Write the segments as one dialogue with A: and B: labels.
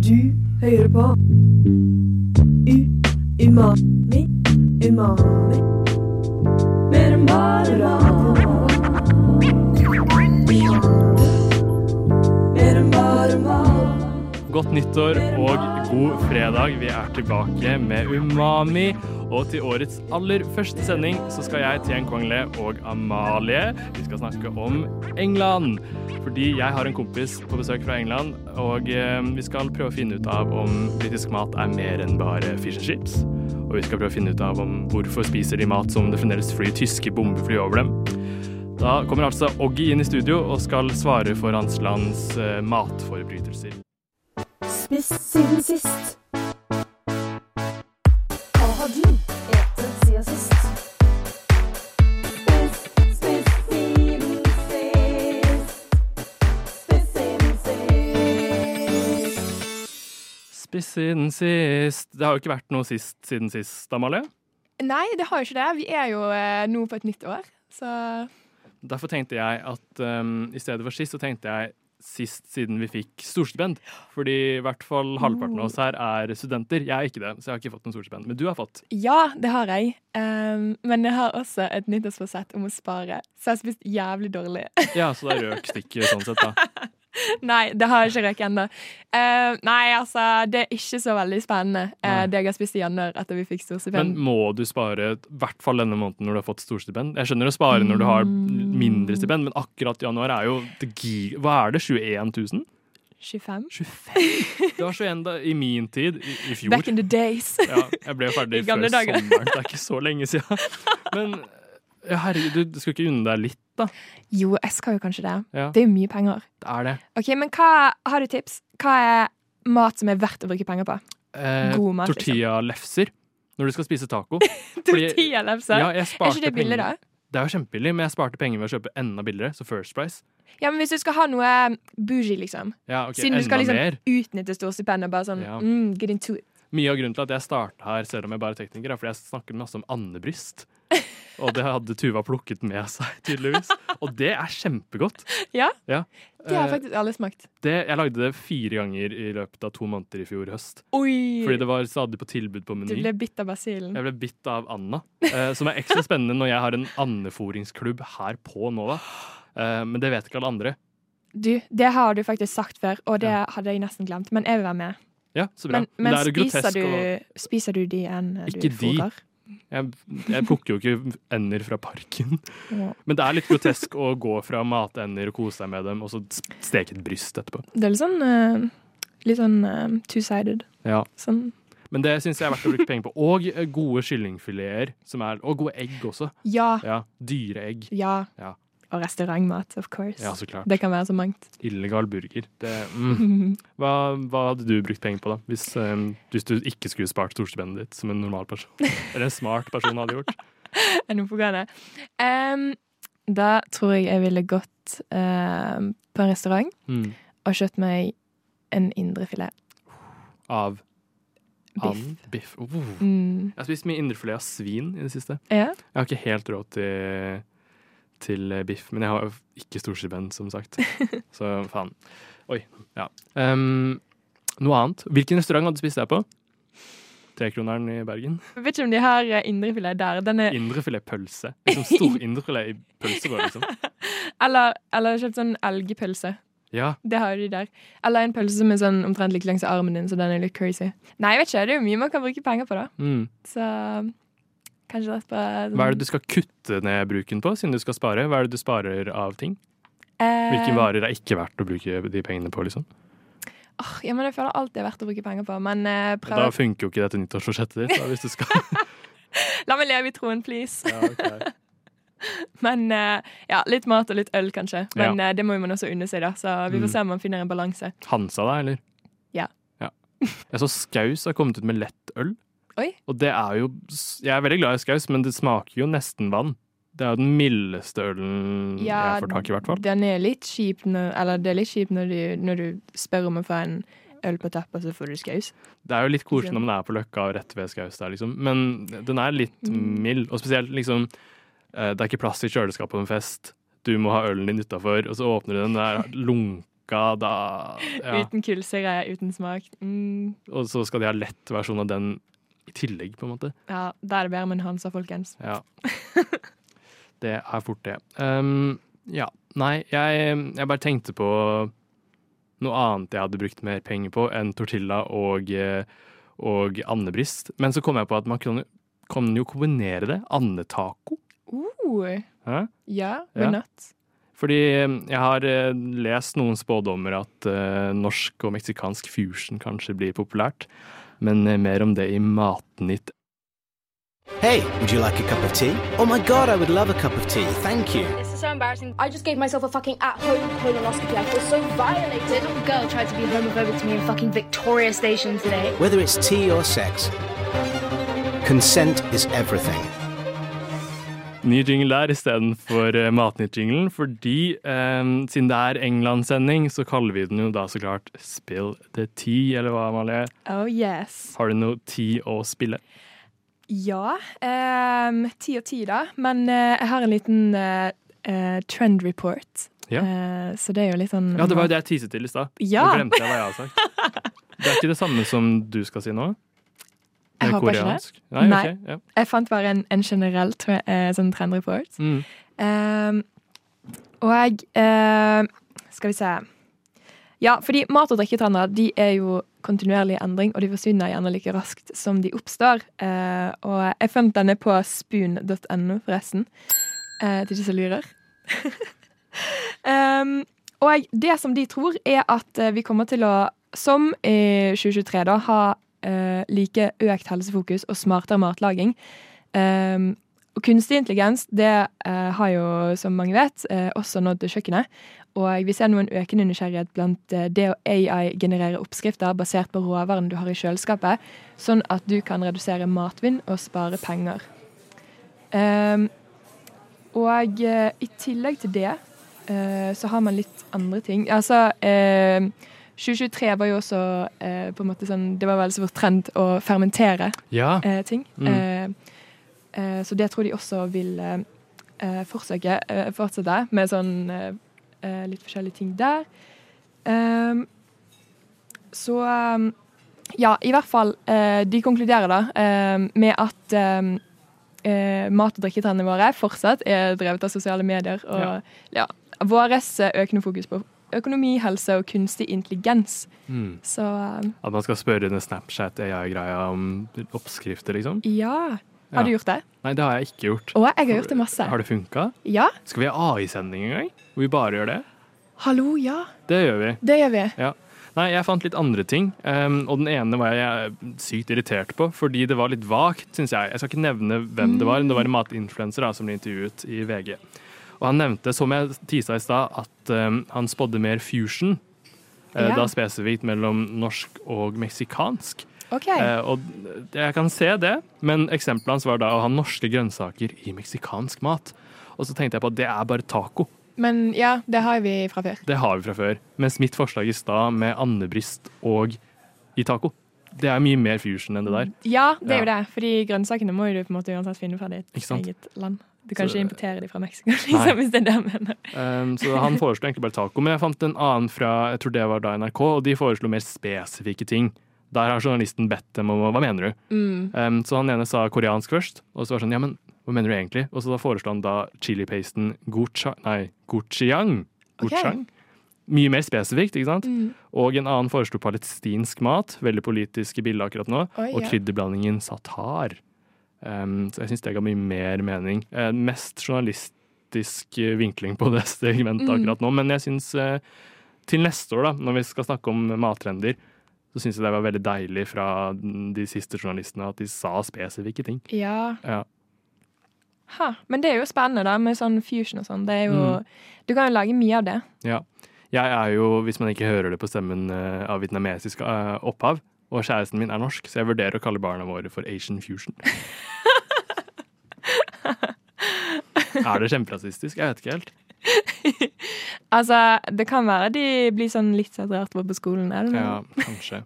A: Du hører på U Umami Umami Mer enn bare mat Mer enn bare mat
B: Godt nyttår og god fredag. Vi er tilbake med Umami. Og til årets aller første sending så skal jeg, Tien Kongle og Amalie, vi skal snakke om England. Fordi jeg har en kompis på besøk fra England, og eh, vi skal prøve å finne ut av om britisk mat er mer enn bare fish and chips. Og vi skal prøve å finne ut av om hvorfor spiser de mat som det fremdeles flyr tyske bombefly over dem. Da kommer altså Oggy inn i studio og skal svare for hans lands eh, matforbrytelser.
A: Spist siden sist Hva har du etet siden sist? Spist, spist siden sist Spist siden sist
B: Spist siden sist. Det har jo ikke vært noe sist siden sist, Amalie.
C: Nei, det har jo ikke det. Vi er jo eh, nå på et nytt år, så
B: Derfor tenkte jeg at um, i stedet for sist, så tenkte jeg sist siden vi fikk storstipend. Fordi i hvert fall halvparten av oss her er studenter. Jeg er ikke det, så jeg har ikke fått noe storstipend. Men du har fått.
C: ja, det har jeg. Ehm, men jeg har også et nyttårsforsett om å spare, så jeg har spist jævlig dårlig.
B: Ja, så da røk stikket sånn sett, da.
C: nei, det har jeg ikke røket ennå. Ehm, nei, altså, det er ikke så veldig spennende, eh,
B: Nei.
C: det jeg har spist i januar etter vi fikk
B: Men
C: storstipend.
B: må du spare i hvert fall denne måneden når du har fått storstipend? Jeg skjønner å spare når du har mindre stipend, men akkurat januar er jo det gi- Hva er det? 21 000?
C: 25?
B: 25? Det var 21 da, i min tid i, i fjor.
C: Back in the days.
B: Ja, jeg ble jo ferdig
C: I
B: før
C: gamle dager.
B: sommeren. Det er ikke så lenge siden. Men ja, herregud, du skulle ikke unne deg litt, da.
C: jo, jeg skal jo kanskje det.
B: Ja,
C: Det er jo mye penger.
B: det er det.
C: Ok, men hva, har du tips? Hva er mat som er verdt å bruke penger på?
B: Eh,
C: God mat, liksom.
B: Tortilla-lefser når du skal spise taco. Fordi-
C: Tortilla-lefse?
B: Ja, jeg
C: er
B: sparte
C: ikke det billig, da?
B: penger. Det er jo kjempebillig, men jeg sparte penger ved å kjøpe enda billigere, så First Price.
C: Ja, men Hvis du skal ha noe bougie, liksom.
B: Ja, ok,
C: Siden
B: enda
C: du skal liksom
B: mer.
C: utnytte storstipendet. Bare sånn
B: Ja.
C: mm, get into it.
B: Mye av grunnen til at jeg starta her, selv om jeg bare er tekniker, er fordi jeg snakker masse om andebryst. Og det hadde Tuva plukket med seg, tydeligvis. Og det er kjempegodt.
C: Ja?
B: Ja.
C: Det har
B: Eh,
C: faktisk alle smakt.
B: det, jeg lagde det fire ganger i løpet av to måneder i fjor høst.
C: Oi!
B: Fordi det var stadig på tilbud på
C: Du
B: Meny.
C: ble bitt av basillen.
B: Jeg ble bitt av Anna, eh, som er ekstra spennende når jeg har en andeforingsklubb her på Nova. Eh, men det vet ikke alle andre.
C: Du, det har du faktisk sagt før, og det
B: Ja.
C: hadde jeg nesten glemt. Men jeg vil være med.
B: Ja, så bra.
C: Men, men
B: det er jo
C: spiser,
B: grotesk
C: du,
B: og-
C: spiser du de enn du
B: Ikke de.
C: fôrer?
B: Jeg, jeg plukker jo ikke ender fra parken.
C: Ja.
B: Men det er litt grotesk å gå fra matender og kose seg med dem, og så s- steke et bryst etterpå.
C: Det er litt sånn eh, Litt sånn eh, two-sided.
B: Ja.
C: Sånn
B: Men det syns jeg er verdt å bruke penger på. Og eh, gode kyllingfileter. Som er, og gode egg også.
C: ja.
B: Ja, Dyre egg.
C: Ja.
B: Ja.
C: Og restaurantmat, of course.
B: Ja, så klart.
C: Det kan være så mangt.
B: Illegal burger. Det, mm. hva, hva hadde du brukt penger på da, hvis, eh, hvis du ikke skulle spart storstipendet ditt som en normal person? Eller en smart person hadde gjort?
C: enn hun på gane. Em, da tror jeg jeg ville gått em, på en restaurant
B: Mm.
C: og kjøpt meg en indrefilet.
B: Av
C: Biff.
B: and biff. Oh. Jeg
C: Mm.
B: har spist mye indrefilet av svin i det siste.
C: Ja.
B: Jeg har ikke helt råd til, til eh, biff, men jeg har jo ikke storstipend, som sagt. Så faen. Oi. Ja. Um, noe annet. Hvilken restaurant hadde du spist der på? Trekroneren i Bergen.
C: Jeg vet ikke om de har eh, indrefilet der. Den er,
B: Indrefilet pølse. Liksom stor indrefilet i pølsebrød, liksom.
C: eller, eller kjøpt sånn elgpølse.
B: Ja.
C: Det har jo de der. Eller en pølse som er sånn omtrent like langs armen din, så den er litt crazy. Nei, jeg vet ikke. Det er jo mye man kan bruke penger på, da.
B: Mm.
C: Så kanskje rett på eh,
B: Hva er det du skal kutte ned bruken på, siden du skal spare? Hva er det du sparer av ting? Hvilke
C: varer?
B: varer er ikke verdt å bruke de pengene på, liksom?
C: Ja, men jeg føler alt det er verdt å bruke penger på, men eh, prøv
B: Da funker jo ikke dette nyttårsforsettet ditt, da, hvis du skal
C: La meg leve i troen, please.
B: ja, ok.
C: Men eh, ja, litt mat og litt øl, kanskje. Men eh, det må jo man også unne seg, da. Så vi
B: Mm.
C: får se om man finner en balanse.
B: Hansa deg, eller?
C: Ja.
B: Jeg så Skaus har kommet ut med lett øl.
C: Oi.
B: Og det er jo Jeg er veldig glad i Skaus, men det smaker jo nesten vann. Det er jo den mildeste ølen
C: Ja,
B: jeg får tak i, i hvert fall.
C: Den er litt kjip når, eller det er litt kjip når, du, når du spør om å få en øl på tapp, og så får du skaus.
B: Det er jo litt koselig når man er på Løkka og rett ved Skaus der, liksom. Men den er litt mild, og spesielt liksom eh, Det er ikke plass i kjøleskapet på en fest. Du må ha ølen din utafor, og så åpner du den, den er lunka uka, da ja.
C: Uten kullsyre, uten smak. Mm,
B: Og så skal de ha lett versjon av den i tillegg, på en måte.
C: ja, da er det bedre med en Hansa, folkens.
B: Ja. Det er fort det. Um, ja. Nei, jeg, jeg bare tenkte på noe annet jeg hadde brukt mer penger på enn tortilla og, eh, og andebrist. Men så kom jeg på at man kan, kan jo kombinere det. Andetaco.
C: Uh,
B: Hæ?
C: ja, why
B: Ja.
C: not?
B: Fordi eh, jeg har eh, lest noen spådommer at eh, norsk og meksikansk fusion kanskje blir populært. Men eh, mer om det i Matnytt
D: Hey, would you like a cup of tea? Oh my god, I would love a cup of tea. Thank you.
E: This is so embarrassing. I just gave myself a fucking at-home colonoscopy. I feel so violated. Some girl tried to be homophobic to me in fucking Victoria Station today.
D: Whether it's tea or sex, consent is everything.
B: ny jingle der istedenfor uh, Matnytt-jinglen. Fordi eh, siden det er England-sending, så kaller vi den jo da så klart Spill the tea, eller hva, Amalie?
C: Oh yes.
B: Har du noe tea å spille?
C: Ja. ehm, Ti og ti, da. Men eh, jeg har en liten eh, eh, trend report.
B: Ja.
C: Eh, så det er jo litt sånn
B: Ja, det var jo det jeg tiset til i stad.
C: Ja.
B: Nå glemte jeg hva jeg hadde sagt. Det er ikke det samme som du skal si nå?
C: Jeg
B: Med
C: håper ikke det.
B: koreansk? Nei,
C: Nei.
B: ok, ja.
C: Jeg fant bare en, en generell tre, eh, sånn trend report.
B: Mm.
C: Ehm, og jeg ehm, Skal vi se Ja, fordi mat- og drikketrender de er jo kontinuerlig i endring, og de forsvinner gjerne like raskt som de oppstår. Eh, og jeg fant denne på spoon.no, forresten. Eh, til de som lurer. Ehm, og det som de tror, er at eh, vi kommer til å, som i 2023, da, ha eh, like økt helsefokus og smartere matlaging. Ehm, og kunstig intelligens det eh, har jo, som mange vet, eh, også nådd til kjøkkenet. Og vi ser nå en økende nysgjerrighet blant eh, det å AI-generere oppskrifter basert på råvaren du har i kjøleskapet, sånn at du kan redusere matvinn og spare penger. Ehm, og eh, i tillegg til det eh, så har man litt andre ting. Altså eh, 2023 var jo også eh, på en måte sånn Det var veldig så vår trend å fermentere
B: ja.
C: eh, ting.
B: Mm.
C: Eh, eh, så det tror de også vil eh, eh, forsøke, eh, fortsette med sånn eh, eh, litt forskjellige ting der. Ehm, så ehm, ja, i hvert fall. eh, de konkluderer da ehm, med at ehm, eh, mat- og drikketrendene våre fortsatt er drevet av sosiale medier. Og ja. våres eh, økende fokus på økonomi, helse og kunstig intelligens.
B: Mm.
C: Så ehm,
B: At man skal spørre den Snapchat-greia om oppskrifter, liksom?
C: ja. Har
B: Ja.
C: du gjort det?
B: Nei, det har jeg ikke gjort.
C: Og jeg har gjort det masse.
B: Har det funka?
C: Ja.
B: Skal vi ha AI-sending en gang? Hvor vi bare gjør det?
C: Hallo, ja.
B: Det gjør vi.
C: Det gjør vi.
B: Ja. Nei, jeg fant litt andre ting, um, og den ene var jeg sykt irritert på, fordi det var litt vagt, syns jeg. Jeg skal ikke nevne hvem det var, men det var en matinfluenser da, som ble intervjuet i VG. Og han nevnte, som jeg tisa i stad, at um, han spådde mer fusion, eh,
C: Ja.
B: da spesifikt mellom norsk og meksikansk.
C: OK.
B: Eh, og jeg kan se det, men eksempelet hans var da å ha norske grønnsaker i meksikansk mat. Og så tenkte jeg på at det er bare taco.
C: Men ja, det har vi fra før.
B: Det har vi fra før. Mens mitt forslag i stad med andebrist og i taco, det er mye mer fusion enn det der.
C: Ja, det er jo
B: Ja.
C: det. Fordi grønnsakene må jo du på en måte uansett finne fra ditt
B: Ikke sant?
C: eget land. Du kan
B: Så-
C: ikke importere de fra Mexico, liksom, hvis det er det jeg mener.
B: Um, så han foreslo egentlig bare taco. Men jeg fant en annen fra jeg tror det var da NRK, og de foreslo mer spesifikke ting. Der har journalisten bedt dem om hva mener du? Um, så han ene sa koreansk først, og så var det sånn ja, men hva mener du egentlig? Og så da foreslo han da chilipasten gocha... Nei, gochiang. Gochang. Mye mer spesifikt, ikke sant? Og en annen foreslo palestinsk mat, veldig politisk i bildet akkurat nå,
C: Oi,
B: og
C: ja.
B: krydderblandingen satar. Um, så jeg syns det ga mye mer mening. Eh, mest journalistisk eh, vinkling på det segmentet
C: Mm.
B: akkurat nå, men jeg syns eh, til neste år, da, når vi skal snakke om mattrender, så syns jeg det var veldig deilig fra de siste journalistene at de sa spesifikke ting.
C: Ja.
B: Ja.
C: Ha. Men det er jo spennende, da, med sånn fusion og sånn. Det er jo
B: Mm.
C: Du kan jo lage mye av det.
B: Ja. Jeg er jo, hvis man ikke hører det på stemmen, eh, av vietnamesisk eh, opphav. Og kjæresten min er norsk, så jeg vurderer å kalle barna våre for Asian fusion. er det kjemperasistisk? Jeg vet ikke helt.
C: Altså, det kan være de blir sånn litt saturert på på skolen, eller noe.
B: Ja, kanskje.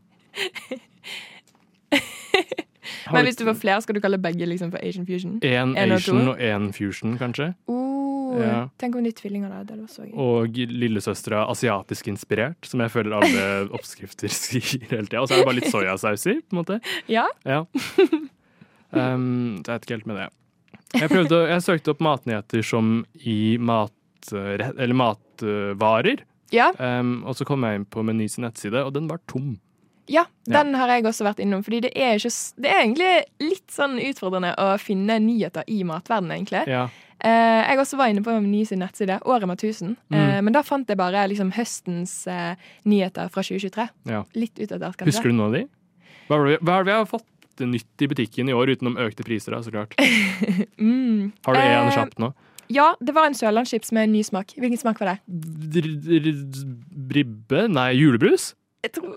C: Men hvis du får flere, skal du kalle begge liksom for Asian fusion?
B: Én
C: en og to?
B: Asian og én fusion, kanskje?
C: Oh, hun,
B: Ja.
C: Tenk om de er tvillinger, da. Det hadde vært så gøy.
B: Og lillesøstera asiatisk inspirert, som jeg føler alle oppskrifter sier hele tida. Og så er det bare litt soyasaus i, på en måte.
C: Ja?
B: Ja. Um, så jeg vet ikke helt med det. Jeg, prøvde, å- jeg søkte opp matnyheter som i mat, eh, eller matvarer,
C: Ja,
B: um, og så kom jeg inn på Meny sin nettside, og den var tom.
C: ja, den har jeg også vært innom. Fordi det er, ikke, s- det er egentlig litt sånn utfordrende å finne nyheter i matverdenen, egentlig.
B: Ja.
C: Eh, jeg også var inne på Meny sin nettside, Året med 1000.
B: Mm.
C: Eh, men da fant jeg bare liksom, høstens eh, nyheter fra 2023.
B: Ja.
C: Litt utdatert, kanskje.
B: Husker du noen av de? Hva har vi, hva er det vi har fått nytt i butikken i år, utenom økte priser, da, så klart? Har du en
C: Eh,
B: kjapt nå?
C: Ja, det var en sørlandschips med en ny smak. Hvilken smak var det?
B: Dr- dr- Ribbe? Nei, julebrus?
C: Jeg tror...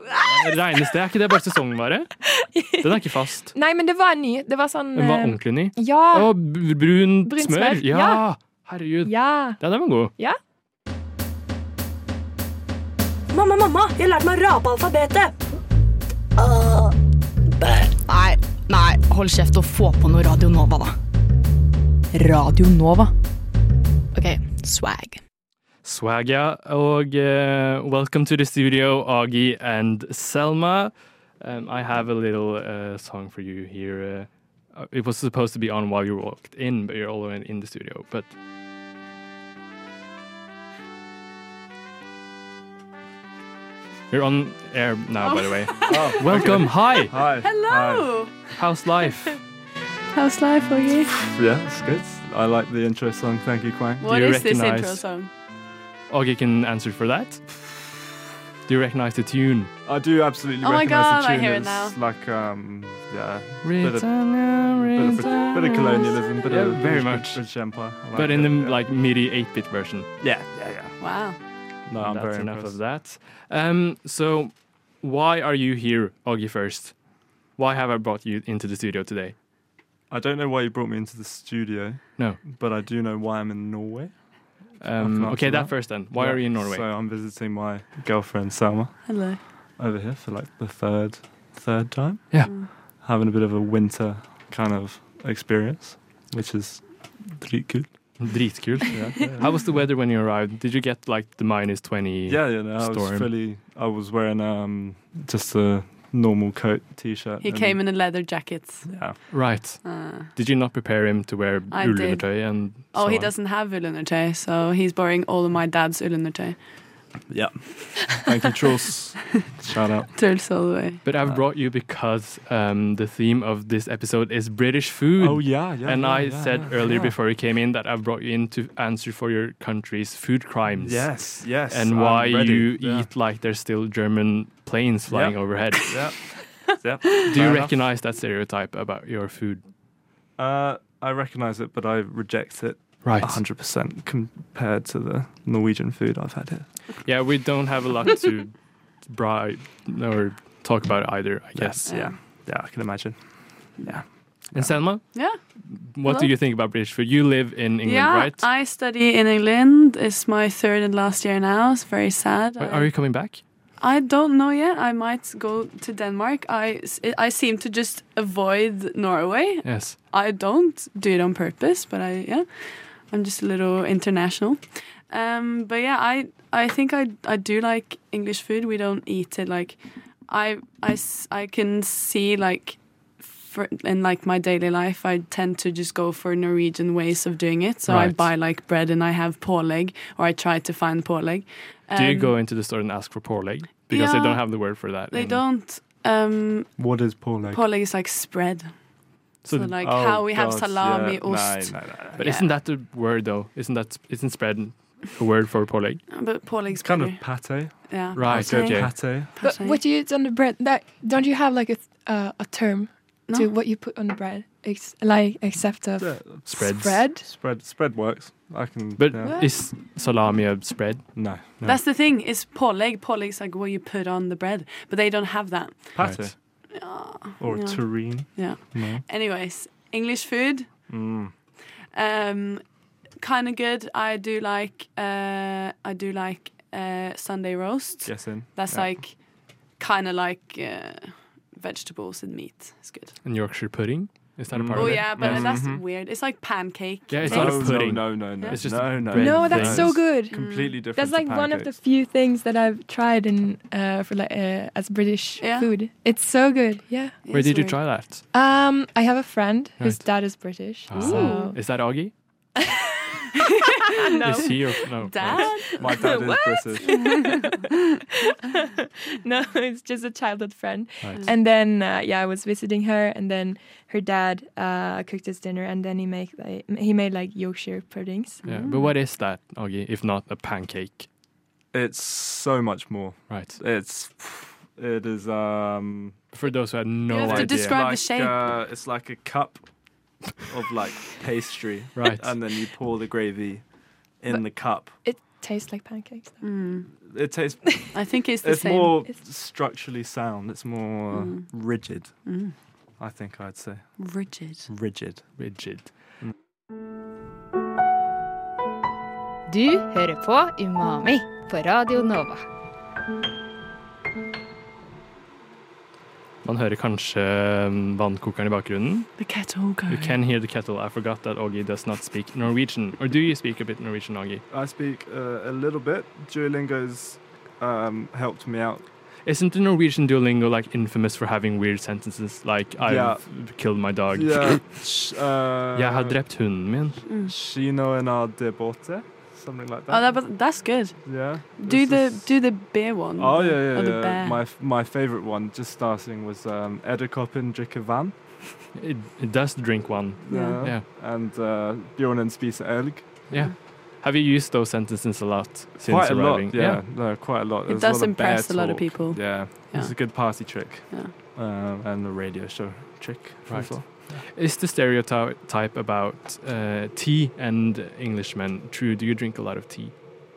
B: Regnes det? Er ikke det bare sesongvare? Den er ikke fast.
C: Nei, men det var en ny. Det var sånn
B: Den var
C: eh,
B: ordentlig ny.
C: Ja.
B: Og b- brunt
C: Brunt
B: smør.
C: smør,
B: Ja,
C: ja.
B: herregud.
C: ja.
B: Ja, den var god.
F: Mamma, mamma, jeg har lært meg å rape alfabetet.
G: Nei, nei, hold kjeft og få på noe Radio Nova, da. Radio Nova? OK, swag.
B: Swag, ja. Og eh, welcome to the studio, Agi and Selma. Um, I have a little uh, song for you here. Uh, it was supposed to be on while you walked in, but you're already in the studio. But you're on air now, by the way. Welcome. Hi.
H: Oh, Hi. Hello.
B: How's life?
I: How's life, Augie?
H: Yeah, it's good. I like the intro song. Thank you, Quang.
I: What
B: you
I: is this
B: recognize-
I: intro song?
B: Augie can answer for that. Do you recognize the tune?
H: I do absolutely
I: Oh my
H: recognize
I: God,
H: the
I: I
H: tune.
I: hear it
H: it's
I: now.
H: like um, yeah,
B: Bit
H: of- bit
B: of-
H: of, bit of colonialism, bit of
B: Yeah, very
H: British-
B: much.
H: British Empire. I like
B: But in
H: it,
B: the
H: yeah.
B: like MIDI 8-bit version.
H: yeah, yeah, yeah.
I: Wow.
H: No, I'm
B: That's
H: very
B: enough
H: impressed.
B: of that. Um, so, why are you here, Augie? First, why have I brought you into the studio today?
H: I don't know why you brought me into the studio.
B: No.
H: but I do know why I'm in Norway.
B: Um,
H: not
B: okay,
H: sure.
B: that first then. Why
H: Yeah,
B: are you in Norway?
H: So I'm visiting my girlfriend Selma
I: Hello.
H: over here for like the third, third time.
B: Yeah.
I: Mm.
H: having a bit of a winter kind of experience, which is pretty good.
B: Dritkult.
H: Yeah, yeah.
B: How was the weather when you arrived? Did you get like the minus 20?
H: Yeah, yeah, no, I
B: Storm.
H: was fully. I was wearing um just a normal coat, t-shirt.
I: He came in a leather jacket.
H: Yeah,
B: Right.
I: Uh,
B: Did you not prepare him to wear
I: I did.
B: ullundertøy and
I: oh,
B: so
I: he
B: on?
I: doesn't have ulundertøy, so he's borrowing all of my dad's ulundertøy.
H: yeah. Thank you, Truls. Shout out.
I: Truls all the way.
B: But I've brought you because um, the theme of this episode is British food.
H: Oh yeah, yeah.
B: and
H: yeah,
B: I
H: yeah,
B: said
H: yeah,
B: earlier
H: yeah.
B: before you came in that I've brought you in to answer for your country's food crimes.
H: Yes, yes.
B: And
H: I'm
B: why
H: ready.
B: you
H: Yeah.
B: eat like there's still German planes flying
H: Yeah.
B: overhead.
H: Yeah. yep.
B: Do you recognize that stereotype about your food?
H: Uh, I recognise it, but I reject it
B: Right.
H: 100% compared to the Norwegian food I've had here.
B: Yeah, we don't have a lot to bribe or talk about either, I guess.
H: yeah, yeah. I can imagine. Yeah.
B: And Selma,
I: Yeah.
B: what do
I: Hello.
B: you think about British food? You live in England,
I: yeah.
B: right?
I: I study in England. It's my third and last year now. It's very sad.
B: Wait,
I: I-
B: Are you coming back?
I: I don't know yet. I might go to Denmark. I, I seem to just avoid Norway.
B: Yes.
I: I don't do it on purpose, but I yeah, I'm just a little international. Um, but yeah, I I think I I do like English food. We don't eat it like I I s- I can see like for, in like my daily life, I tend to just go for Norwegian ways of doing it. So I
B: Right.
I: buy like bread and I have pålegg, or I try to find pålegg.
B: do you
I: Um,
B: go into the store and ask for poor leg? Because they
I: yeah.
B: don't have the word for that.
I: They
B: in-
I: don't. Um,
H: What is poor leg?
I: pålegg is like spread.
B: So
I: So,
B: th-
I: like
H: Oh,
I: how we have
H: God,
I: salami,
H: yeah.
I: ost.
H: No, no, no, no.
B: But
I: Yeah.
B: isn't that the word though? Isn't that isn't spread a word for poor leg?
I: But pålegg's
H: It's kind of
I: better.
H: pate.
I: yeah.
B: Right,
I: pate.
B: okay.
H: Pate.
C: But
I: Pate.
C: what do you eat on the bread? That, don't you have like a, uh, a term
I: No.
C: to what you put on the bread? Ex- like except of
H: Yeah.
B: Spreads.
C: bread?
H: Spread. Spread works. I can.
B: But
H: yeah.
I: Yeah.
B: is salami a spread?
H: no. no.
I: That's the thing. It's pålegg. Pålegg's like what you put on the bread, but they don't have that.
H: pate
B: Right.
H: or
I: Ah. yeah.
H: terrine.
I: Yeah.
H: No.
I: Anyways, English food,
H: Mm.
I: um, kind of good. I do like. Uh, I do like uh, Sunday roast.
H: Yes, in.
I: That's
H: yeah.
I: like, kind of like uh, vegetables and meat. It's good.
B: And Yorkshire pudding? instead of
H: Mm.
B: part
I: Oh
B: of it.
I: yeah, but
H: Yeah.
I: that's
H: Mhm.
I: weird. It's like pancake.
B: Yeah, it's
I: Like,
B: not
H: no,
B: a pudding.
H: No, no, no, no.
B: It's just
H: no, no.
B: bread
C: No, that's so
H: It's
C: good.
H: Completely different.
C: That's
H: to
C: like one of the
H: pancakes.
C: few things that I've tried in uh, for like uh, as British
I: Yeah.
C: food. It's so good. Yeah.
B: Where
I: it's
B: did you
I: weird.
B: try that?
C: Um, I have a friend whose
B: Right.
C: dad is British.
B: Ah.
C: So
B: Is that Augie?
C: no,
I: Oh.
B: Is he or no?
I: Dad?
H: My dad is British.
C: no, it's just a childhood friend.
B: Right.
C: And then uh, yeah, I was visiting her, and then her dad uh, cooked us dinner, and then he make like, he made like Yorkshire puddings.
B: Yeah. But what is that, Augie, if not a pancake?
H: It's so much more.
B: Right.
H: It's it is um
B: For those who had no
I: You have to
B: idea.
I: describe- the
H: like,
I: shape.
H: Uh, it's like a cup of like pastry,
B: Right.
H: And then you pour the gravy in the cup.
C: It tastes like pancakes. though.
H: It tastes.
I: mm, I think it's the
H: It's
I: same.
H: more
C: It's-
H: structurally sound. It's more uh,
I: Mm.
H: rigid.
I: Mm.
H: I think I'd say
I: rigid.
H: rigid.
B: rigid.
G: Du hører på Umami på Radio Nova.
B: Man hører kanskje mm, vannkokeren i bakgrunnen.
I: The kettle
B: You can hear the kettle. I forgot that Augie does not speak Norwegian. Or do you speak a bit Norwegian, Augie?
H: I speak uh, a little bit. Duolingo's um, helped me out.
B: Isn't the Norwegian Duolingo like infamous for having weird sentences like I've
H: Yeah.
B: killed my dog?
H: Yeah. sh- uh,
B: Jeg har drept hunden min.
H: Shino and our debote, something like that.
I: Oh, that, but that's good.
H: yeah.
I: Do
H: This
I: the
H: is-
I: do the beer one.
H: Oh yeah,
I: or
H: yeah,
I: the
H: yeah.
I: bear.
H: My f- my favorite one, just starting, was um, Edderkoppen drikker van,
B: It, it does drink one.
I: Yeah.
B: Yeah.
H: and uh, Bjornen spiser elg.
B: Yeah. Have you used those sentences a lot since
H: Quite a
B: arriving?
H: lot, yeah, No, quite a lot.
I: It
H: There's a lot
I: does
H: of
I: impress
H: bear
I: a lot of
H: talk.
I: people.
H: Yeah, it's
I: Yeah.
H: a good party trick,
I: Yeah.
H: um, and a radio show trick
B: Right.
H: as well.
B: Is the stereotype about uh, tea and Englishmen true? Do you drink a lot of tea?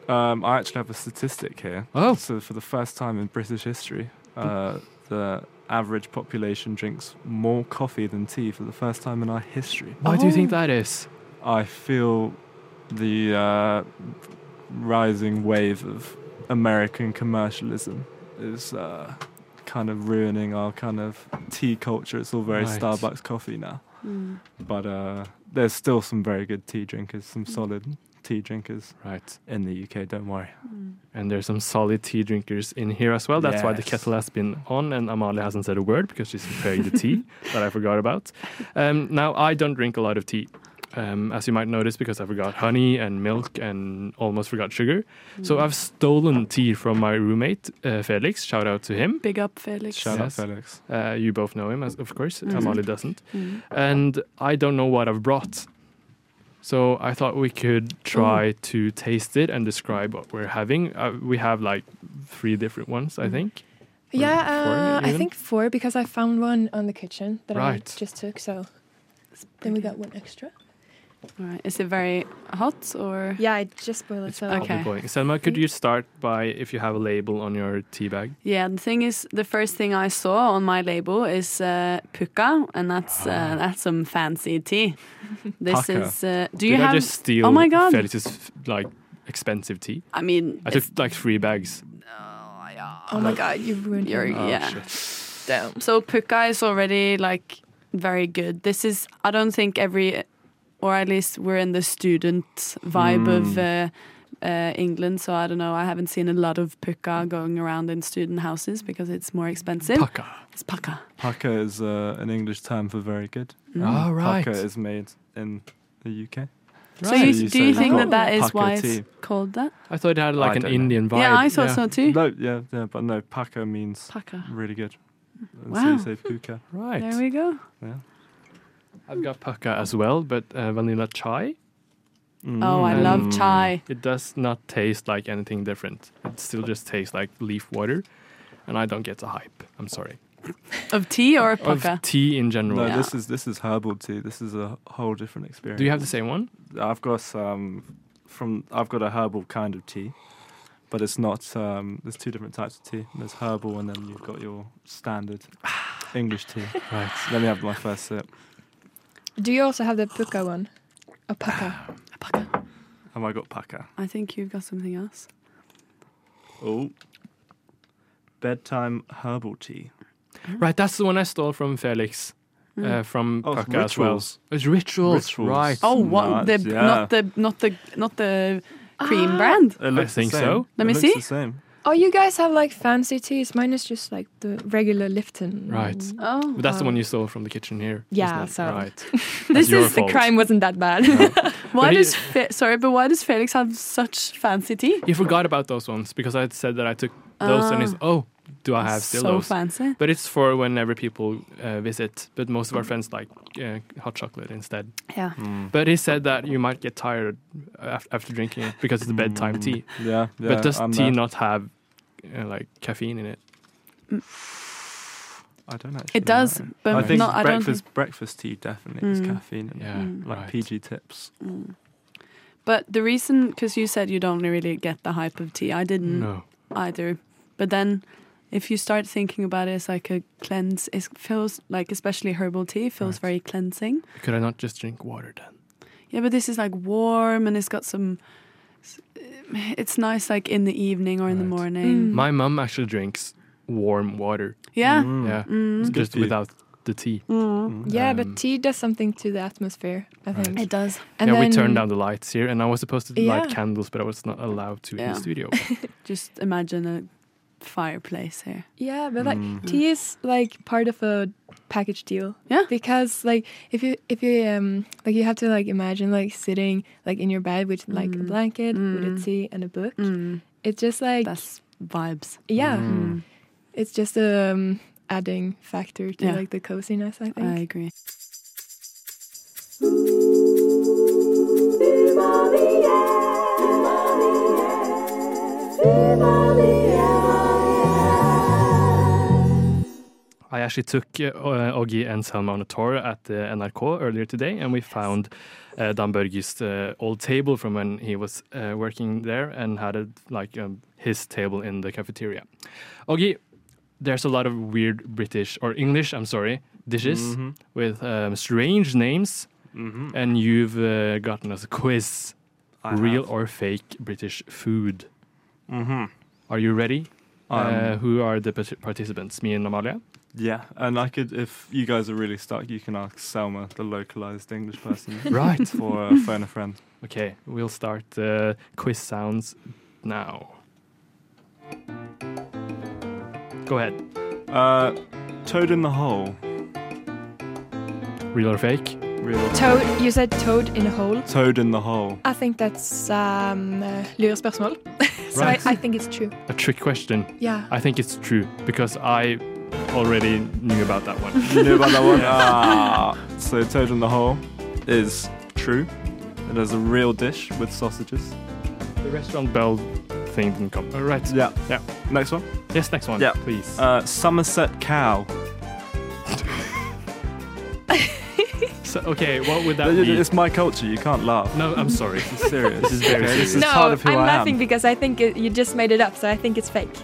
H: Um, I actually have a statistic here.
B: Oh.
H: So for the first time in British history, uh, the average population drinks more coffee than tea for the first time in our history.
B: Why do you
H: Oh.
B: think that is?
H: I feel the uh, rising wave of American commercialism is uh, kind of ruining our kind of tea culture. It's all very
B: Right.
H: Starbucks coffee now.
I: Mm.
H: But uh, there's still some very good tea drinkers, some solid tea drinkers
B: Right.
H: in the UK, don't worry.
B: And there's some solid tea drinkers in here as well. That's why the
H: Yes.
B: kettle has been on, and Amalia hasn't said a word because she's preparing the tea that I forgot about. Um, now, I don't drink a lot of tea, um, as you might notice, because I forgot honey and milk and almost forgot sugar. So
I: Mm.
B: I've stolen tea from my roommate, uh, Felix. Shout out to him.
I: Mm. Big up, Felix.
H: Shout
B: Yes.
H: out Felix.
B: Uh, you both know him, as, of course.
I: Mhm.
B: Amalia doesn't.
I: Mm.
B: and I don't know what I've brought. So I thought we could try
I: Mm.
B: to taste it and describe what we're having. Uh, we have like three different ones, I
I: Mm.
B: think.
C: Yeah,
B: four
C: uh, I
B: even?
C: think four because I found one on the kitchen that
B: Right.
C: I just took. So then we got one extra.
I: All right. Is it very hot or?
C: Yeah, I just boiled it. So
I: Okay.
B: Probably going. Selma, could you start by if you have a label on your tea bag?
I: Yeah, the thing is, the first thing I saw on my label is uh, puka, and that's uh, that's some fancy tea. This
H: Puka.
I: is. Uh, do you
B: Did I
I: have?
B: just steal
I: Oh my God.
B: Felix's f- like expensive tea?
I: I mean,
B: I took like three bags. Oh,
C: oh my god, you ruined
I: you're,
C: your
I: yeah.
C: down.
I: So puka is already like very good. This is. I don't think every, or at least we're in the student vibe
B: Hmm.
I: of. Uh, uh, England, so I don't know. I haven't seen a lot of puka going around in student houses because it's more expensive.
B: Paka.
I: It's puka.
H: Pucker is uh, an English term for very good.
B: All Ah, right.
H: Pucker is made in the UK.
I: So
B: Right.
I: you, do you think that that is
H: Pucker
I: why it's
H: tea.
I: called that?
B: I thought it had
H: I
B: like an
H: don't know.
B: Indian vibe.
I: Yeah, Oh, I thought so too.
H: No, yeah, yeah, but no, pucker means
I: Pucker.
H: really good. And
I: Wow.
H: So you say puka.
I: There
B: Right.
I: we go.
B: I've got paka as well, but uh, vanilla chai. Hmm.
I: Oh,
H: Mm.
I: I love chai.
B: It does not taste like anything different. It still just tastes like leaf water, and I don't get the hype. I'm sorry.
I: Of tea or
B: Of
I: pucker?
B: tea in general.
H: No,
I: Yeah.
H: this is this is herbal tea. This is a whole different experience.
B: Do you have the same one?
H: I've got some from. I've got a herbal kind of tea, but it's not. Um, there's two different types of tea. There's herbal, and then you've got your standard English tea.
B: Right.
H: Let me have my first sip.
C: Do you also have the puka one? A puka.
I: Pucker.
H: Have I got pucker?
I: I think you've got something else.
H: Oh, bedtime herbal tea.
B: Right, that's the one I stole from Felix.
I: Hmm.
C: Mm.
B: uh, from
H: Oh, it's
B: Kaka as well.
H: rituals.
B: It's rituals,
H: Rituals.
B: right?
I: Oh, what?
H: Nice,
I: The,
H: yeah.
I: Not the not the not the cream brand.
H: It looks the
B: think
H: same.
B: so.
I: Let
H: It
I: me
H: looks
I: see.
H: The same.
C: Ah, Oh, you guys have like fancy teas. Mine is just like the regular Lipton.
B: Right.
I: Oh,
B: But that's the one you stole from the kitchen here.
C: Yeah,
B: wasn't it?
C: so-
B: right.
C: This
B: Your
C: is the
B: fault.
C: crime wasn't that bad.
I: why
B: But he-
I: does Fe- sorry, but why does Felix have such fancy tea?
B: You forgot about those ones because I had said that I took those, and
I: Ah.
C: Ah.
B: he's oh, do I have still
I: so
B: those?
I: fancy.
B: But it's for whenever people uh, visit. But most of our friends like uh, hot chocolate instead.
I: Yeah.
B: But he said that you might get tired af- after drinking it because it's a bedtime tea.
H: Mm. Yeah, yeah.
B: but does
H: I'm
B: tea
H: there.
B: Mm. not have uh, like caffeine in it?
H: I don't actually.
I: It does,
H: know.
I: but
H: I think
I: not. I don't.
H: breakfast
I: Think,
H: breakfast tea definitely has
I: Mm.
H: caffeine in it.
B: Yeah,
H: Like
B: right.
H: PG tips.
I: but the reason, because you said you don't really get the hype of tea, I didn't
B: No.
I: either. But then, if you start thinking about it as like a cleanse, it feels like especially herbal tea feels
B: Right.
I: very cleansing.
B: Could I not just drink water then?
I: Yeah, but this is like warm and it's got some. It's nice like in the evening or in the
B: Right.
C: Mm.
I: morning.
B: My mum actually drinks warm water.
I: Yeah.
H: Mm.
B: Yeah,
I: Mm.
H: good
B: just
H: for you.
B: without the tea.
C: yeah,
B: Um,
C: but tea does something to the atmosphere, I
B: Right.
C: think.
I: It does.
C: And
B: yeah,
C: then,
B: we turned down the lights here, and I was supposed to light
C: Yeah.
B: candles, but I was not allowed to in
I: Yeah.
B: the studio.
I: Just imagine a fireplace here.
C: Yeah, but like
H: Mm.
C: tea is like part of a package deal.
I: Yeah.
C: Because like if you if you um like you have to like imagine like sitting like in your bed with like a blanket with a tea and a book. It's just like
I: Mm. That's vibes.
C: yeah,
B: Mm.
H: Mm.
I: Hmm.
C: it's just a um, adding factor to
I: Yeah.
C: like the coziness. I
I: I
C: think.
I: agree.
B: I actually took uh, Oggy and Selma on a tour at uh, the NRK earlier today, and we found uh, Dan Børge's uh, old table from when he was uh, working there and had a, like um, his table in the cafeteria. Oggy, there's a lot of weird British or English, I'm sorry, dishes
H: Mm-hmm.
B: with um, strange names, and you've uh, gotten us a quiz:
H: I
B: real
H: have.
B: or fake British food.
H: Mhm.
B: Are you ready? uh,
H: Um,
B: who are the parti- participants? Me and Amalia.
H: Yeah, and I could, if you guys are really stuck, you can ask Selma, the localized English person,
B: Right.
H: for uh, phone a friend.
B: Okay, we'll start uh, quiz sounds now. Go ahead.
H: Uh, Toad in the hole.
B: Real or fake?
H: Real.
C: Toad, you said toad in a hole.
H: Toad in the hole.
C: I think that's um, uh, lurespørsmål. so
B: Right.
C: I, I think it's true.
B: A trick question.
C: Yeah.
B: I think it's true because I already knew about that one.
H: You know about that one? ah, so Toad in the hole is true. It is a real dish with sausages.
B: the restaurant bell thing didn't come. All right.
H: Yeah.
B: Yeah.
H: Next one.
B: Yes, next one,
H: Yeah.
B: please.
H: Uh, Somerset cow.
B: so, okay, what would that
H: It-
B: be?
H: It's my culture. You can't laugh.
B: No, I'm sorry.
H: This is serious. this is
B: very
H: This is
C: no,
H: part of who
C: I'm
H: I am.
C: laughing because I think it, you just made it up, so I think it's fake.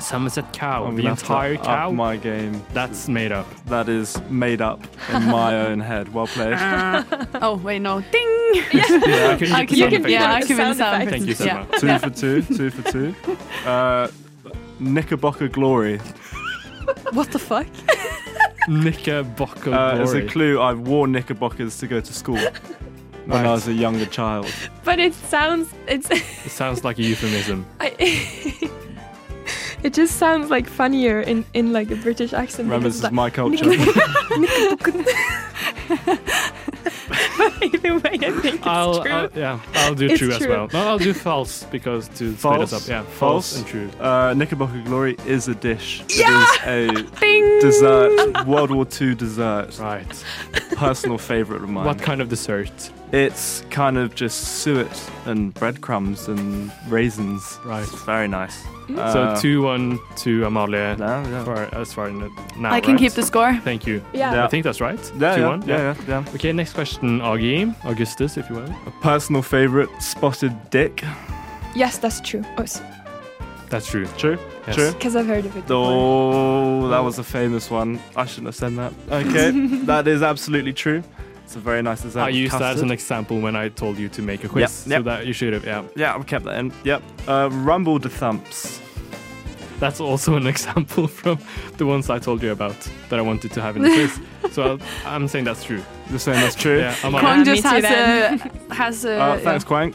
B: Somerset cow.
H: I'm
B: the
H: gonna have to
B: entire
H: Oh, up
B: cow?
H: my game.
B: That's made up.
H: That is made up in my own head. Well played.
B: Ah.
I: Oh wait, no. Ding.
B: Yeah, I couldn't
I: I
B: get the
I: can-
B: sound
I: you can-
B: effect
I: yeah,
B: right.
I: I can be the
C: Sound
I: sound
C: effect.
B: Thank you,
I: person.
B: Selma.
H: two for two, two for two. Uh, Knickerbocker Glory.
C: What the fuck?
B: Knickerbocker
H: Uh, as a
B: Oh, glory.
H: clue, I wore knickerbockers to go to school when I was a younger child.
C: But it sounds it's
B: It sounds like a euphemism.
C: I, it just sounds like funnier in in like a British accent.
H: Remember,
C: because
H: this
C: it's
H: is my culture.
C: like- Either way, I think it's
B: I'll,
C: true.
B: I'll- yeah, I'll do
C: It's
B: true, as
C: true.
B: well. No, I'll do false because to split us
H: False.
B: up. Yeah, false,
H: False.
B: and true.
H: Uh, knickerbocker Glory is a dish. It is a dessert, World War II dessert.
B: Right.
H: Personal favourite of mine.
B: What kind of dessert?
H: It's kind of just suet and breadcrumbs and raisins.
B: Right.
H: It's very nice.
B: Mm.
H: Uh,
B: so two one to Amalia
H: No, yeah.
B: for as far in it now.
I: I can
B: right?
I: keep the score.
B: Thank you.
C: yeah.
H: Yeah.
B: I think that's right.
H: Yeah,
B: two
H: yeah,
B: one.
H: yeah, yeah, yeah.
B: Okay, next question, Augie, Augustus, if you will.
H: Personal favourite, spotted dick.
C: Yes, that's true. Because
B: That's true.
H: True.
B: Yes.
H: True.
C: I've heard of it. before.
H: Oh, that was a famous one. I shouldn't have said that. Okay, that is absolutely true. It's a very nice design.
B: I used that as an
H: Custard.
B: example when I told you to make a quiz,
H: yep.
B: so that you should have. Yeah.
H: Yeah, I've kept that in. Yep. Uh, Rumble to Um, thumps.
B: That's also an example from the ones I told you about that I wanted to have in the quiz. So i I'm saying that's true.
H: You're saying that's true.
B: Yeah, Amalie.
I: Kong just
G: me
I: has
G: too,
I: a has a.
B: Oh,
H: Uh, thanks, Quang.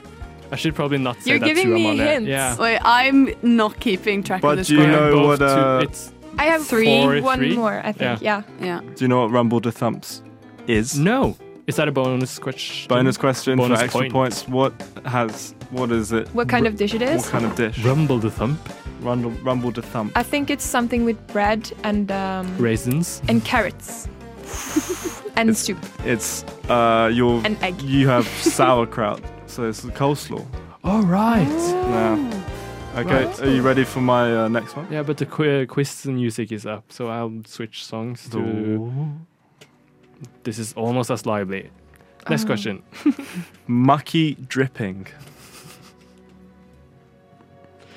B: I should probably not say
C: You're
B: that
C: giving
B: to
C: me
B: Amalie.
C: hints.
B: Yeah.
I: Wait, I'm not keeping track
H: But
I: of the
H: do
I: score.
H: you
B: Yeah,
H: know
B: both
H: what,
B: two-
H: uh,
B: it's-
C: I have
B: Three,
C: three, one
B: three?
C: more, I think. Yeah.
I: Yeah.
H: Do you know what Rumble to Thumps is?
B: No. Is that a bonus question?
H: Bonus question
B: Bonus
H: for extra
B: point.
H: points. What has? What is it?
C: What kind of dish it
H: What
C: is?
H: kind of dish?
B: Rumble the thump.
H: Rumble, rumble to thump.
C: I think it's something with bread and um,
B: Raisins.
C: and carrots. and soup
H: It's uh, your.
C: and egg.
H: You have sauerkraut, so it's coleslaw.
B: All
C: Oh.
B: right.
H: Now, okay. Are you ready for my uh, next one?
B: Yeah, but the qu- quiz music is up, so I'll switch songs to. This is almost as lively.
C: Uh,
B: Next question.
C: um,
H: Mucky dripping.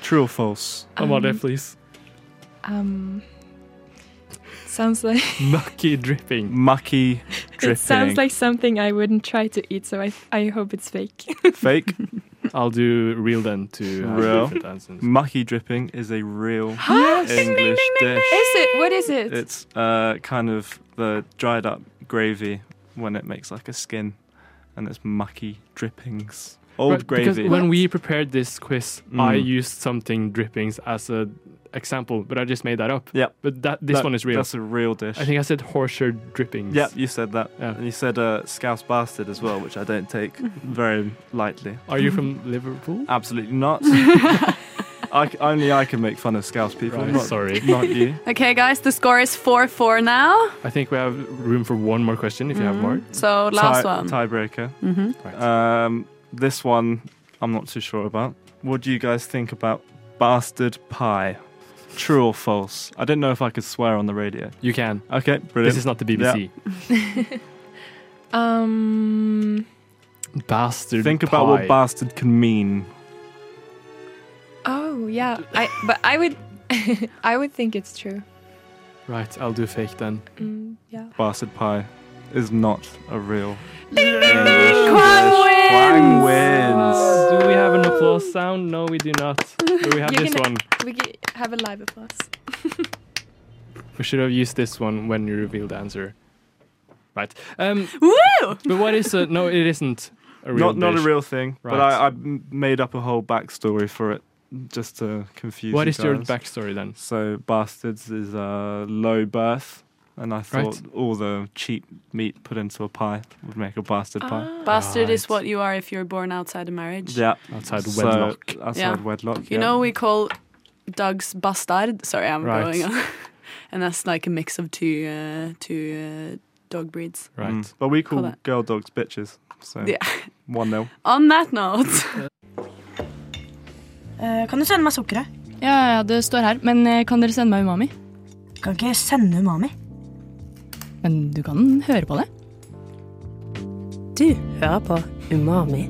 H: True or false?
B: Amalie, please.
C: Um, sounds like
B: Mucky dripping.
H: Mucky dripping.
C: it sounds like something I wouldn't try to eat. So I I hope it's fake.
H: fake.
B: I'll do real then to have
H: Real.
B: different answers.
H: Mucky dripping is a real
C: Yes.
H: English dish.
C: Is it? What is it?
H: It's uh, kind of the dried up gravy when it makes like a skin, and it's mucky drippings. Old
B: Right, because
H: gravy.
B: When we prepared this quiz, I
H: Mm.
B: used something drippings as a example, but I just made that up.
H: Yep.
B: But that this
H: That-
B: one is real.
H: That's a real dish.
B: I think I said Horseshoe drippings.
H: Yep, you said that.
B: Yeah.
H: And you said uh, scouse bastard as well, which I don't take very lightly.
B: Are you from Liverpool?
H: Absolutely not. I c only I can make fun of scouse people.
B: Right,
H: not,
B: sorry.
H: Not you.
I: Okay, guys, the score is four four now. Mm-hmm.
B: I think we have room for one more question if you have Uh, more.
I: So last
H: Tie-
I: one. Mm-hmm.
H: Tiebreaker.
B: Mm-hmm. Right.
H: Um, this one I'm not too sure about. What do you guys think about bastard pie? True or false? I didn't know if I could swear on the radio.
B: you can.
H: Okay, brilliant.
B: This is not the BBC.
C: Um.
B: Bastard.
H: Think about
B: pie.
H: what bastard can mean.
C: Oh yeah. I but I would. I would think it's true.
B: Right, I'll do fake then.
C: Mm, yeah.
H: Bastard pie is not a real. Quang wins.
B: Do we have an applause sound? No, we do not. But we have
C: You
B: this
C: can-
B: one.
C: We g- have a live applause.
B: We should have used this one when you revealed the answer. Right. Um,
I: Woo!
B: but what is a no? It isn't a real.
H: not not a
B: dish.
H: real thing. But
B: Right.
H: I, I m- made up a whole backstory for it just to confuse.
B: What
H: you
B: is your
H: guys.
B: backstory then?
H: So bastards is uh, low birth, and I
B: Right.
H: thought all the cheap meat put into a pie would make a bastard
C: Ah.
I: Ah.
H: pie.
I: Bastard is
B: Right.
I: what you are if you're born outside a marriage.
H: Yeah,
B: Outside
H: So,
B: wedlock.
H: outside
I: Yeah.
H: wedlock.
I: You
H: yeah.
I: know we call dogs bastard. Sorry, I'm
B: Right.
I: going on. and that's like a mix of two uh, two uh, dog breeds.
B: Right.
H: Mm. But we
I: Call
H: call
I: that.
H: girl dogs bitches. So
I: Yeah.
H: one nil.
I: On that note,
F: Eh, kan du sende meg sukkeret?
G: Ja, ja, det står her. Men eh, kan dere sende meg umami?
F: Kan ikke sende umami.
G: Men du kan høre på det.
J: Du hører på Umami.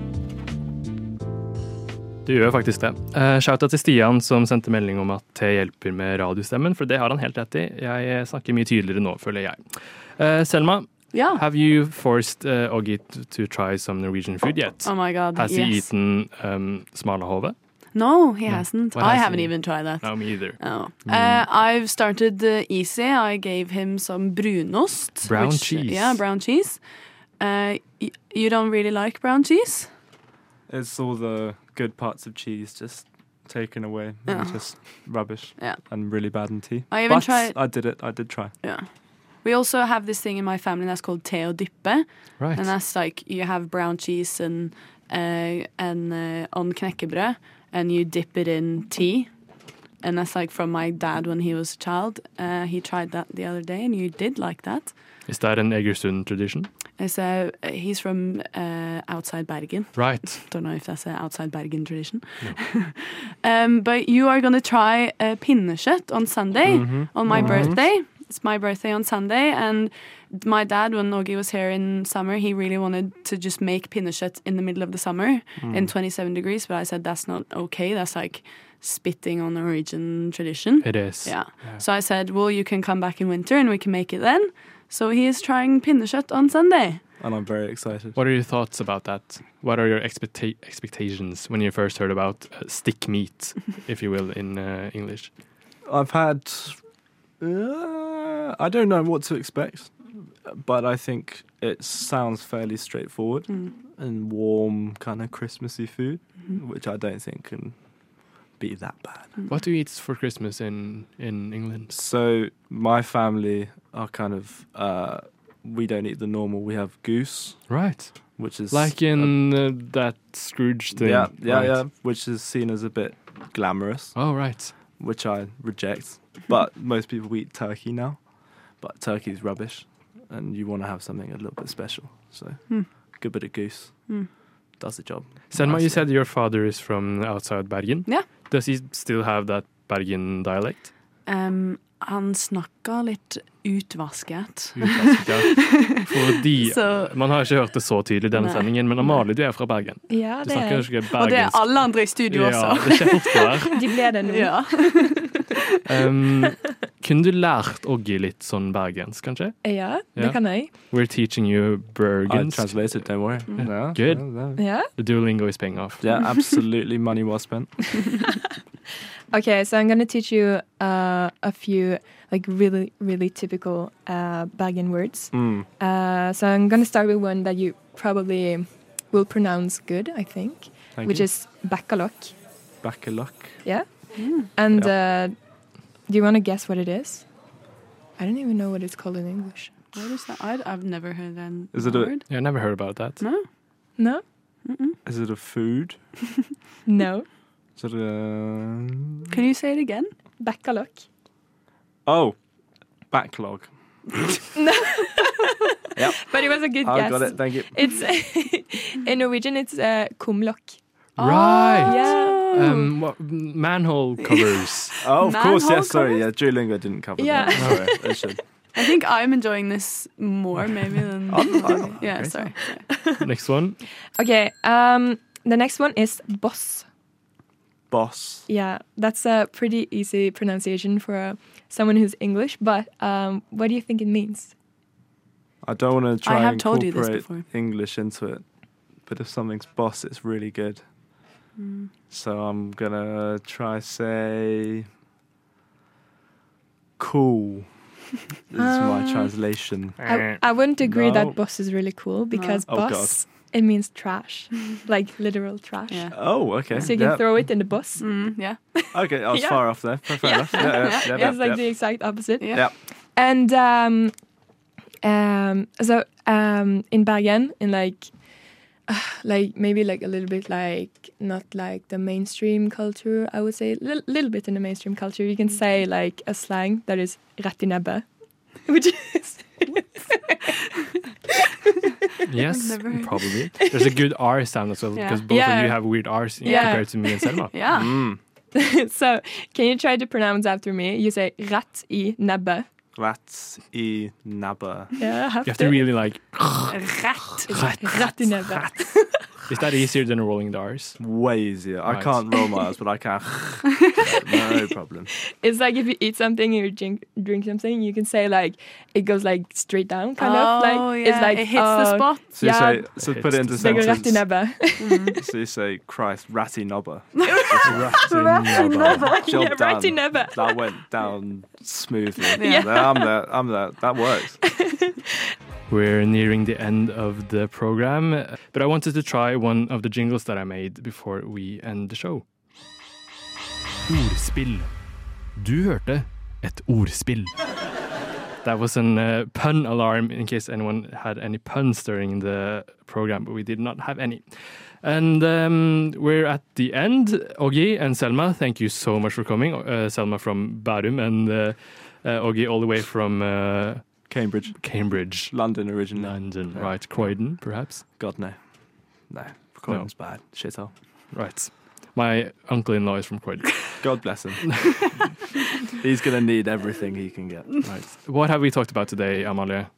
B: Du gjør faktisk det. Uh, Shouta til Stian som sendte melding om at det hjelper med radiostemmen, for det har han helt rett i. Jeg eh, snakker mye tydeligere nå, føler jeg. Eh, Selma,
I: yeah.
B: have you forced uh, Oggy t- to try some Norwegian food yet?
I: Oh my god.
B: Has he
I: yes.
B: eaten um, smalahove?
I: No, he hasn't.
B: What
I: I
B: has
I: haven't
B: he-
I: even tried that.
B: No, Hmm. me either.
I: Oh. Uh, I've started uh, easy. I gave him some brunost. uh,
B: Brown cheese.
I: Yeah, brown cheese. Uh, y- you don't really like brown cheese?
H: It's all the good parts of cheese just taken away.
I: Yeah.
H: It's just rubbish.
I: Yeah.
H: And really bad in tea.
I: I even
H: but
I: tried-
H: I did it. I did try.
I: Yeah. We also have this thing in my family that's called teo dippe,
B: Right.
I: and that's like you have brown cheese and uh, and uh, on knäckebröd, and you dip it in tea. And that's like from my dad when he was a child. Uh, he tried that the other day, and you did like that.
B: Is that an Egersund tradition?
I: It's, uh, he's from uh, outside Bergen.
B: Right.
I: Don't know if that's an outside Bergen tradition. um, but you are going to try uh, pinnekjøtt on Sunday,
B: Mm. Mm-hmm.
I: on my birthday. It's my birthday on Sunday, and my dad, when Norge was here in summer, he really wanted to just make pinnekjøtt in the middle of the summer
B: Mm.
H: Mm.
I: in 27 degrees, but I said that's not okay. That's like spitting on Norwegian tradition.
B: It is.
I: Yeah. So I said, well, you can come back in winter and we can make it then. So he is trying pinnekjøtt on Sunday.
H: And I'm very excited.
B: What are your thoughts about that? What are your expecta- expectations when you first heard about uh, stick meat, if you will, in uh, English?
H: I've had. Uh, I don't know what to expect, but I think it sounds fairly straightforward
I: Mm.
H: and warm, kind of Christmassy food,
I: Mhm.
H: which I don't think can be that bad.
B: What do you eat for Christmas in, in England?
H: So my family are kind of. Uh, we don't eat the normal. We have goose,
B: Right.
H: which is
B: Like in uh, that Scrooge thing.
H: Yeah, yeah,
B: right?
H: yeah. Which is seen as a bit glamorous.
B: Oh, right.
H: Which I reject. But most people eat turkey now. But turkey's rubbish. And you want to have something a little bit special. So,
I: Hmm.
H: good bit of goose.
I: Hmm.
H: Does the job.
B: Selma, you said your father is from outside Bergen.
I: Yeah.
B: Does he still have that Bergen dialect?
I: Um, han snakka litt utvasket.
B: Utkastet. Fordi
I: Så-
B: Man har ikke hørt det så tydelig i denne
I: Nei.
B: sendingen, men Amalie, du er fra Bergen. Du
C: Ja, det
B: snakker
C: er
B: ikke bergensk.
I: Og det er alle andre i studio
B: Ja,
I: også.
B: det er kjempebra.
C: De ble det nå.
I: Ja.
B: Um, kunne du lært Oggy litt sånn bergensk, kanskje?
C: Ja,
B: Ja.
C: det kan jeg.
B: We're teaching you
H: I
B: Bergensk.
H: translated, don't worry.
I: Hmm.
H: Yeah,
B: Good.
H: Yeah, yeah.
C: Ja.
B: The Duolingo is paying off.
H: Yeah, absolutely money well spent.
C: Okay, so I'm gonna teach you uh, a few like really, really typical uh, Bergen words.
H: Mm.
C: Uh, so I'm gonna start with one that you probably will pronounce good, I think,
H: Thank
C: which
H: you.
C: is bacalok.
H: Back a luck.
C: Yeah. And Uh, do you want to guess what it is? I don't even know what it's called in English.
I: What is that? I, I've never heard that
H: Is it a-
I: word.
B: Yeah, I never heard about that.
I: No?
C: No.
I: Mm-mm.
H: Is it a food?
C: No.
H: Is it a.
I: Can you say it again?
C: Bacalok.
H: Oh, backlog.
C: But it was a good
H: I
C: guess.
H: got it. Thank you.
C: It's in Norwegian. It's uh, kumlok.
B: Oh,
I: Oh,
B: Right!
C: Yeah.
B: Um, what, manhole covers.
H: Oh, of course.
I: Manhole
H: Yes, sorry. Yeah, Duolingo didn't cover
C: Yeah.
H: that. Sorry, I should.
I: I think I'm enjoying this more maybe than
H: I'm-
I: Yeah,
H: okay.
I: sorry.
B: Next one.
C: Okay. Um, the next one is boss.
H: Boss.
C: Yeah, that's a pretty easy pronunciation for uh, someone who's English. But um, what do you think it means?
H: I don't want to try
I: have
H: and
I: told you this
H: incorporate English into it, but if something's boss, it's really good. So I'm gonna try say cool. this is my
C: Um,
H: translation.
C: I, I wouldn't agree
H: No.
C: that boss is really cool because
H: Oh, God.
C: boss it means trash, like literal trash.
I: Yeah.
H: Oh, okay.
C: So you can
H: Yep.
C: throw it in the bus.
I: Mm, yeah.
H: Okay, I was
C: Yeah.
H: far off there. Fair enough. Yeah, yeah, yeah, yeah,
C: it's like
H: yeah.
C: the exact opposite.
I: Yeah.
H: Yeah.
C: And um, um, so um, in Bergen, in like, like maybe like a little bit like not like the mainstream culture. I would say a li- little bit in the mainstream culture. You
I: Mm.
C: can say like a slang that is "rattinebbe," which is
B: Yes,
I: never heard.
B: probably. There's a good R sound as well,
I: Yeah.
B: because both of
C: Yeah.
B: you have weird R's
C: Yeah.
B: compared to me and Selma.
I: Yeah.
H: Mm.
C: so. Can you try to pronounce after me? You say "rat i nebbe."
H: Rats e nabba.
C: Yeah, I have
B: You have to really like,
H: Mm.
I: Rat.
C: "Rat i nebbe."
B: is that easier than rolling the R's?
H: Way easier. I
B: Right.
H: can't roll my eyes, but I can. no problem.
C: It's like if you eat something or drink, drink something, you can say like it goes like straight down, kind of
I: Oh,
C: like
I: yeah.
C: it's like
I: it hits the
C: oh,
I: spot.
H: So you
C: Yeah.
H: say, so
B: It's
H: put it into
B: the
C: det går rett i
H: sentence.
C: nebbet.
H: So you say, Christ, ratty nobber. It's ratty nobber. Job
C: yeah, right
H: done.
C: in nebbet.
H: That went down smoothly.
I: Yeah.
H: Yeah. I'm there. I'm there. That works.
B: We're nearing the end of the program, but I wanted to try one of the jingles that I made before we end the show. Ordspill. Du hørte et ordspill. That was an uh, pun alarm in case anyone had any puns during the program, but we did not have any. And um, we're at the end. Oggy and Selma, thank you so much for coming. Uh, Selma from Barum and uh, uh, Oggy all the way from uh,
H: Cambridge,
B: Cambridge.
H: London originally.
B: London,
H: Yeah.
B: right? Croydon, perhaps?
H: God no, no. Croydon's bad. Shithole.
B: Right. My uncle-in-law is from Croydon.
H: God bless him. He's gonna need everything he can get.
B: right. What have we talked about today, Amalia?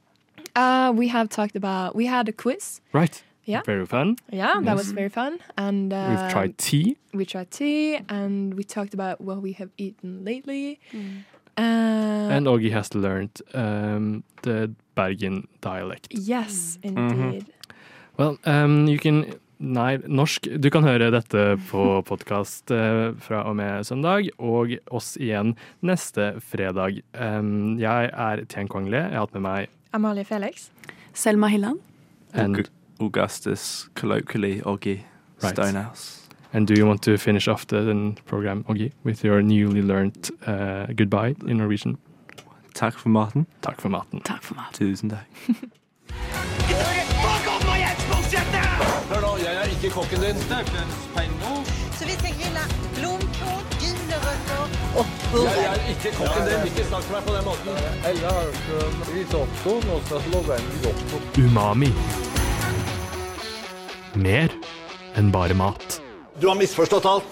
C: Uh, we have talked about we had a quiz.
B: Right.
C: Yeah.
B: Very fun.
C: Yeah, that was very fun. And uh,
B: We've tried tea.
C: we tried tea, and we talked about what we have eaten lately.
I: Mm.
C: Uh,
B: and Augie has learned um, the Bergen dialect.
C: yes, indeed.
B: Well, um, you can Nei, norsk. Du kan høre dette på podkast fra og med søndag, og oss igjen neste fredag. Um, Jeg er Tien Kwang Le. Jeg har hatt med meg
C: Amalie Felix.
I: Selma Hilland.
B: and,
H: Augustus, colloquially Oggy
B: Right.
H: Stonehouse.
B: and do you want to finish off the program, Oggy, with your newly learned uh, goodbye in Norwegian?
H: Takk for maten.
B: Takk for maten.
I: Takk for maten.
H: Tusen takk.
K: Hør nå, jeg er ikke kokken din.
L: Så vi skal grille blomkål, gulrøtter
K: Jeg er ikke kokken din. Ikke snakk til meg på den måten. Ella Haustrøm risotto, risotto.
B: Umami. Mer enn bare mat.
K: Du har misforstått alt.